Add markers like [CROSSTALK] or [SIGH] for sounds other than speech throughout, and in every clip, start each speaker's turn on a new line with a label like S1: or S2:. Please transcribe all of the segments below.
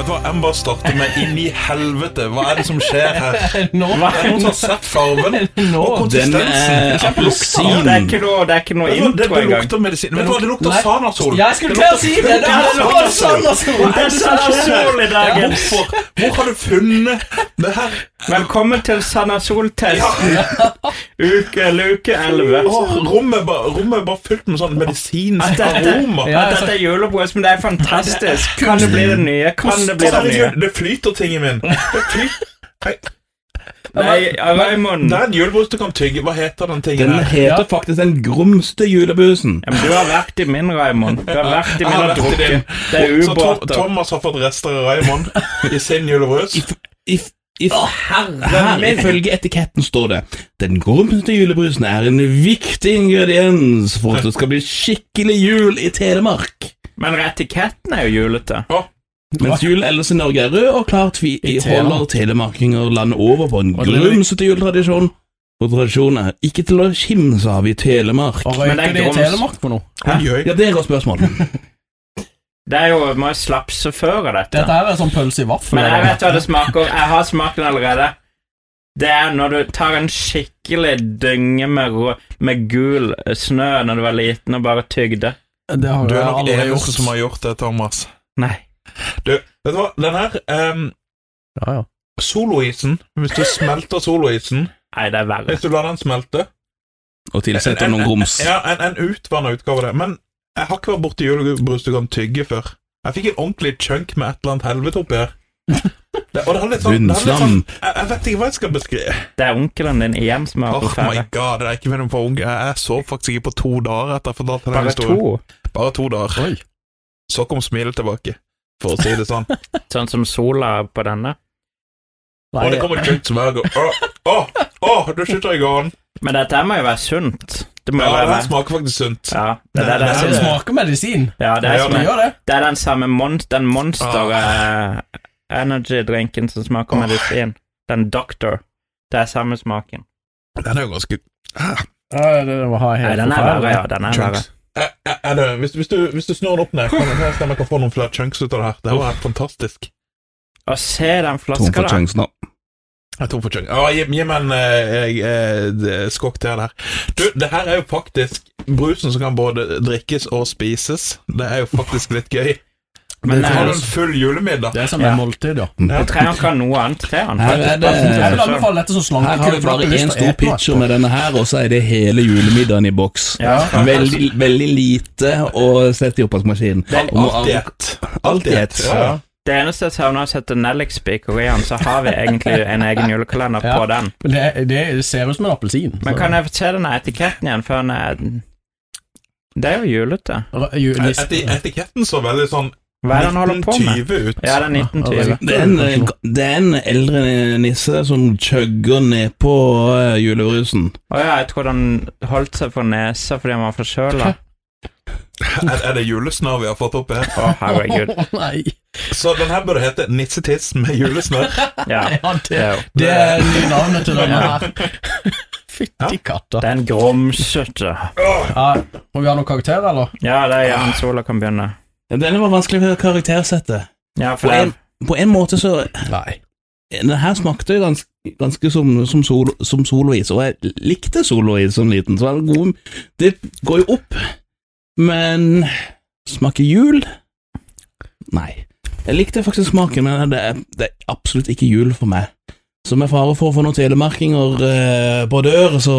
S1: hva enn bare starter med. Inn i helvete! Hva er det som skjer her?
S2: Nå,
S1: Hva er det som har sett farven
S2: [LAUGHS] Nå,
S1: og
S3: Den eh,
S1: konsistensen?
S3: er
S4: Ja,
S3: appelsin.
S4: det er ikke noe, det er ikke noe
S1: Det, det,
S4: intro
S1: det
S4: engang.
S1: lukter medisin. Vet du hva, det lukter
S2: Nei.
S1: Sanasol.
S2: Ja, jeg skulle til å si det! Det er sånn
S4: Det er Sanasol i dagen.
S1: Hvorfor? Hvor har du funnet det her?
S4: Velkommen til Sanasol-testen. [LAUGHS] Uke, luke 11.
S1: Åh, rommet, ba, rommet er bare fylt med sånn medisinsk
S4: Dette-
S1: aroma.
S2: Ja,
S4: At dette er julebrus, men det er fantastisk. Kan det bli det nye? Kan det bli det nye?
S1: Herregud, det flyter ting i min. Det, flyter.
S4: Nei, Raymond.
S1: det er en julebrus du kan tygge. Hhva heter den tingen
S3: Den
S1: her?
S3: heter faktisk Den grumste julebrusen.
S4: Ja, men du har vært i min, Raymond. Du har vært
S1: Jeg
S4: i min
S1: har
S4: og
S1: vært i din.
S4: drukket. Det er
S1: Så Tom,
S4: ubåter.
S1: Thomas har fått rester av Raymond i sin julebrus.
S3: If, if, her, ifølge etiketten står det Den grumste julebrusen er en viktig ingrediens for at det skal bli skikkelig jul i Telemark.
S4: Men etiketten er jo julete.
S3: Mens julen ellers i Norge er rød og klart vi
S2: I Telemark.
S3: holder telemarkinger landet over på en
S2: Og det-
S3: grumsete juletradisjon. Og tradisjonen er ikke til å kimse av i Telemark.
S2: Og
S4: Men
S2: røyker
S4: det er
S2: de i
S4: grums.
S2: Telemark på noe?
S1: Oi, oi.
S3: Ja, det er et spørsmål.
S4: Det er jo må jeg slapse før av dette.
S2: Dette her er sånn pølse i vaffel.
S4: Men jeg vet hva det smaker. Jeg har smakt den allerede. Det er når du tar en skikkelig dynge med, rå- med gul snø når du var liten, og bare tygde.
S2: Det har
S1: Du
S2: jeg
S1: er nok
S2: aldri
S1: eneste
S2: gjort.
S1: som har gjort det, Thomas.
S4: Nei.
S1: Du, vet du hva? Den her em,
S2: Ja, ja.
S1: soloisen Hvis du smelter soloisen
S4: Nei, det er verre.
S1: Hvis du lar den smelte
S3: Og tilsette noen grums.
S1: Ja, en, en utvanna utgave av det. Men jeg har ikke vært borti julebrus du kan tygge før. Jeg fikk en ordentlig chunk med et eller annet helvete oppi her. Det, og det har litt sånn, det har litt sånn
S3: Bunnslam.
S1: jeg, jeg vet ikke hva jeg skal beskrive.
S4: Det er onkelen din igjen som har
S1: Oh
S4: på
S1: my
S4: ferie.
S1: god, det er ikke meningen for unge. Jeg jeg sov faktisk ikke på to dager etter jeg fortalte den
S4: Bare
S1: historien.
S4: to.
S1: Bare to dager.
S2: Oi.
S1: Så kom smilet tilbake, for å si det [LAUGHS] sånn.
S4: Sånn som sola på denne.
S2: Nei,
S1: og det kommer kjøtt som jeg går Åh, åh, åh, du slutter i gården.
S4: Men dette her må jo være sunt. Det må jo
S1: Ja,
S4: være
S1: den smaker faktisk sunt.
S4: Ja, det
S1: Nei,
S4: er, det,
S1: nei,
S4: er,
S2: det smaker medisin.
S4: ja, det, er,
S1: Ja,
S4: som
S2: Det
S4: er,
S2: gjør det.
S4: det er den samme mon den monster
S3: Ah.
S4: eh, energy-drinken som smaker
S1: Åh.
S4: medisin. Den Doctor. Det er samme smaken.
S1: Den er jo ganske
S2: Ja, det var
S4: Nei,
S2: helt
S4: den er verre, ja.
S2: forferdelig.
S4: Den er verre.
S1: Chunks. Eh, eh, er det- Hvis, hvis, du, hvis du snur den opp ned, kan jeg stemme kan få noen flere chunks ut av det her. Det her var helt fantastisk.
S4: Å se den
S3: Tom
S4: flaska
S3: for
S4: der.
S3: sjansen, da.
S1: Jeg er tom for chunks. Ja, gi, gi meg en eh, eh, d- skokk til der. Du, det her er jo faktisk brusen som kan både drikkes og spises. Det er jo faktisk litt gøy. Så
S4: Men det
S1: har du
S4: er,
S1: en full julemiddag.
S2: sånn- Det er som en
S4: Ja.
S2: måltid, ja.
S4: jeg tror han kan noe annet. Tre han.
S3: Her er det-
S2: Jeg
S4: sånn.
S2: vil anbefale dette som
S3: Her har vi
S2: slankekutt.
S3: bare én stor pitcher med denne her, og så er det hele julemiddagen i boks.
S4: Ja.
S3: Veldig, veldig lite å sette i oppvaskmaskinen.
S4: Det-
S3: Og må
S1: Alt i ett. Alt i ett.
S3: Ja.
S1: Ja.
S4: Det eneste jeg savner, er å sette nellikspiker i den, så har vi egentlig en egen julekalender
S2: Ja.
S4: på den.
S2: Det, det ser ut som en appelsin.
S4: Men kan jeg se denne etiketten igjen før den er Det er jo julete.
S1: Eti etiketten så veldig sånn
S4: Hva er det han holder på med?
S1: 1920 ut.
S4: Ja, det er 1920.
S3: Det er, en, det er en eldre nisse som chugger nedpå uh, julebrusen.
S4: Å ja, jeg tror han holdt seg for nesa fordi han var forkjøla.
S1: [LAUGHS] Er, er det julesnø vi har fått oppi her?
S4: Å, herregud.
S2: Nei.
S1: Så den her burde hete Nissetiss med julesnø.
S4: Ja.
S2: Ja,
S4: Det
S2: det,
S4: er, jo-
S2: det er nye navnet til denne her.
S1: Ja.
S2: [LAUGHS] Fytti katta.
S4: det er en grumsete
S2: Ja, må vi ha noen karakter, eller?
S4: Ja, det er gjerne sola kan begynne.
S3: Denne var vanskelig å karaktersette.
S4: Ja, for
S3: På en,
S4: det,
S3: på en måte så
S2: Nei.
S3: Den her smakte jo ganske, ganske som, som, solo, som solois, og jeg likte solois som liten. Så var det, god, det går jo opp, men smaker jul? Nei. Jeg likte faktisk smaken, men det er, det er absolutt ikke jul for meg. Så med fare for å få noen telemarkinger eh, på dør, så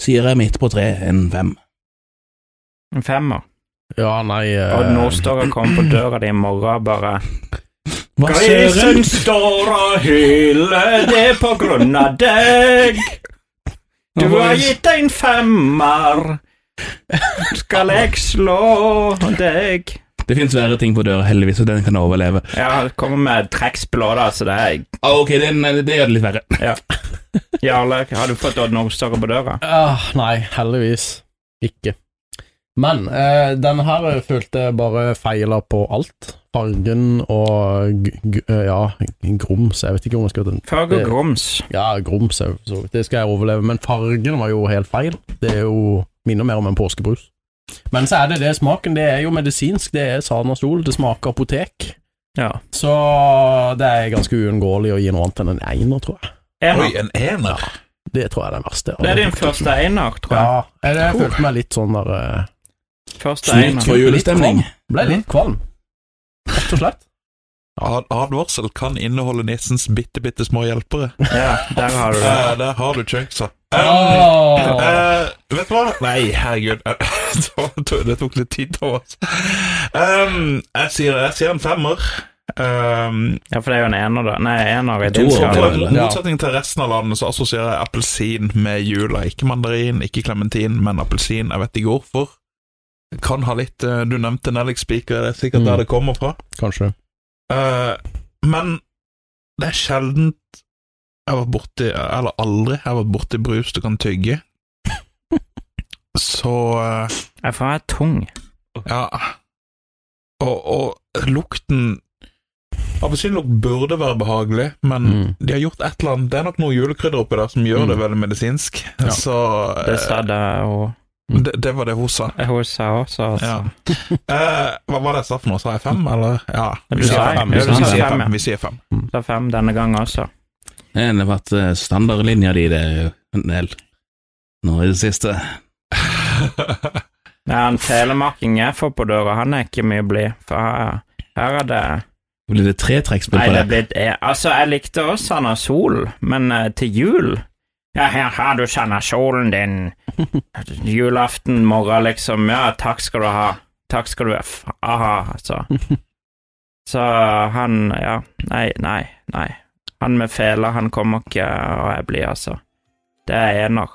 S3: sier jeg midt på tre en fem.
S4: en femmer.
S2: Ja, nei eh,
S4: Og Nordstoga kommer på døra di i morgen og bare
S3: Hva
S4: Grisen står og hyler, det er på grunn av deg. Du har gitt deg en femmer. Skal jeg slå deg?
S3: Det finnes verre ting på døra, heldigvis, og den kan overleve.
S4: Ja, det kommer med trekkspill òg, da, så det er
S3: Ah, ok, den, det gjør det litt verre.
S4: Jarle, har du fått Odd Nordstoga på døra?
S2: ah, Nei, heldigvis ikke. Men eh, denne her følte jeg bare feila på alt. Fargen og g g eh, ja, grums. Jeg vet ikke om jeg skal
S4: Farg og grums.
S2: Ja, grums, er jo for så vidt. det skal jeg overleve. Men fargen var jo helt feil. Det er jo minner mer om en påskebrus. Men så er det det smaken. Det er jo medisinsk. Det er Sanasol. Det smaker apotek.
S4: Ja.
S2: Så det er ganske uunngåelig å gi noe annet enn en einer, tror jeg.
S1: Oi,
S4: Ener.
S1: en ener.
S2: Det tror jeg er den verste.
S4: Det er din første einer, tror jeg.
S2: Ja, jeg, jeg følte meg litt sånn der eh,
S4: Første
S3: Snilt
S4: einer.
S3: for julestemning.
S2: Ble litt kvalm, rett og slett.
S1: Ad advarsel kan inneholde nissens bitte, bitte små hjelpere.
S4: Ja, Ah. der har du det.
S1: Eh, der har du chunksa.
S2: Åh.
S1: Eh, vet du hva? Nei, herregud. [LAUGHS] Det tok- det tok litt tid av oss. Ehm, jeg, sier, jeg sier en femmer. Um,
S4: Ja, for det er jo en ener, da. Nei, ener er
S3: To
S4: din
S3: og
S1: I
S4: skala.
S3: to. Ja.
S1: motsetning til resten av landet så assosierer jeg appelsin med jula. Ikke mandarin, ikke klementin, men appelsin. Jeg vet ikke hvorfor. Kan ha litt eh, Du nevnte nellikspiker, det er sikkert
S2: Mm.
S1: der det kommer fra.
S2: Kanskje.
S1: Eh, men det er sjeldent jeg har vært borti Eller aldri jeg har vært borti brus du kan tygge. Så eh,
S4: Jeg får være tung.
S1: Ja. Og, og lukten Appelsinlukt burde være behagelig, men
S2: Mm.
S1: de har gjort et eller annet Det er nok noe julekrydder oppi der som gjør
S2: Mm.
S1: det veldig medisinsk.
S2: Ja.
S1: Så eh,
S4: Det sa det og
S1: det, det var det hun sa.
S4: hun sa også. Altså.
S2: [LAUGHS]
S1: Ja. Eh, hva var det jeg sa for noe? Sa jeg fem, eller? Ja.
S4: Du
S1: Vi sier
S4: sa-
S1: fem.
S4: ja, du
S1: Vi
S4: sa
S1: sier
S4: fem, ja.
S1: fem. Vi sier fem.
S4: Det er fem denne gangen også.
S3: Det har vært eh, standardlinja di, det, Nel. Nå i det siste.
S1: [LAUGHS]
S4: Nei, han telemarking jeg får på døra, han er ikke mye blid. For her, her er det
S3: Det blir det tre trekkspill
S4: Nei,
S3: på
S4: det
S3: det.
S4: er blitt eh, Altså, jeg likte også Sanna Sol, men eh, til jul Ja, her har du Sanna Solen din. [LAUGHS] Julaften morgen, liksom. Ja, takk skal du ha. Takk skal du ha. F- Aha,
S3: [LAUGHS]
S4: altså. Så han Ja. Nei, nei, nei. Han med fela, han kommer ikke, og jeg blir altså Det er ener.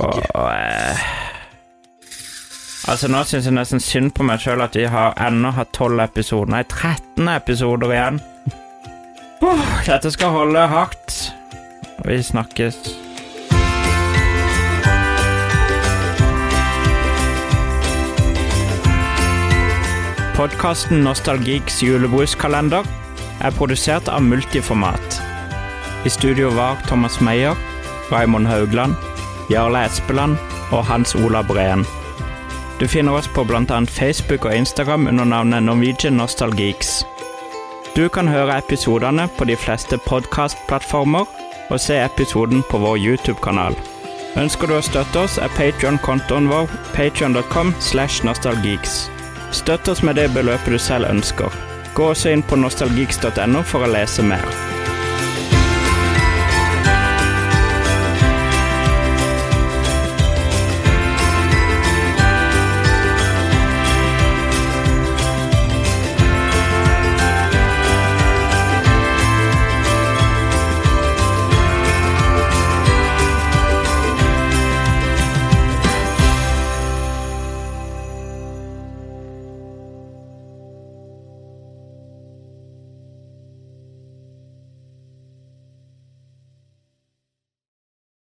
S4: Og, og eh, Altså, nå syns jeg nesten synd på meg sjøl at vi har ennå har tolv episoder. Nei, 13 episoder igjen. Åh, dette skal holde hardt. Vi snakkes. Podkasten Nostalgiks julebruskalender er produsert av Multiformat. I studio var Thomas Meyer, Raymond Haugland, Jarle Espeland og Hans Ola Breen. Du finner oss på bl.a. Facebook og Instagram under navnet Norwegian Nostalgeeks. Du kan høre episodene på de fleste podkastplattformer og se episoden på vår YouTube-kanal. Ønsker du å støtte oss, er Patreon-kontoen vår patreon.com slash nostalgeeks. Støtt oss med det beløpet du selv ønsker. Gå også inn på nostalgeeks.no for å lese mer.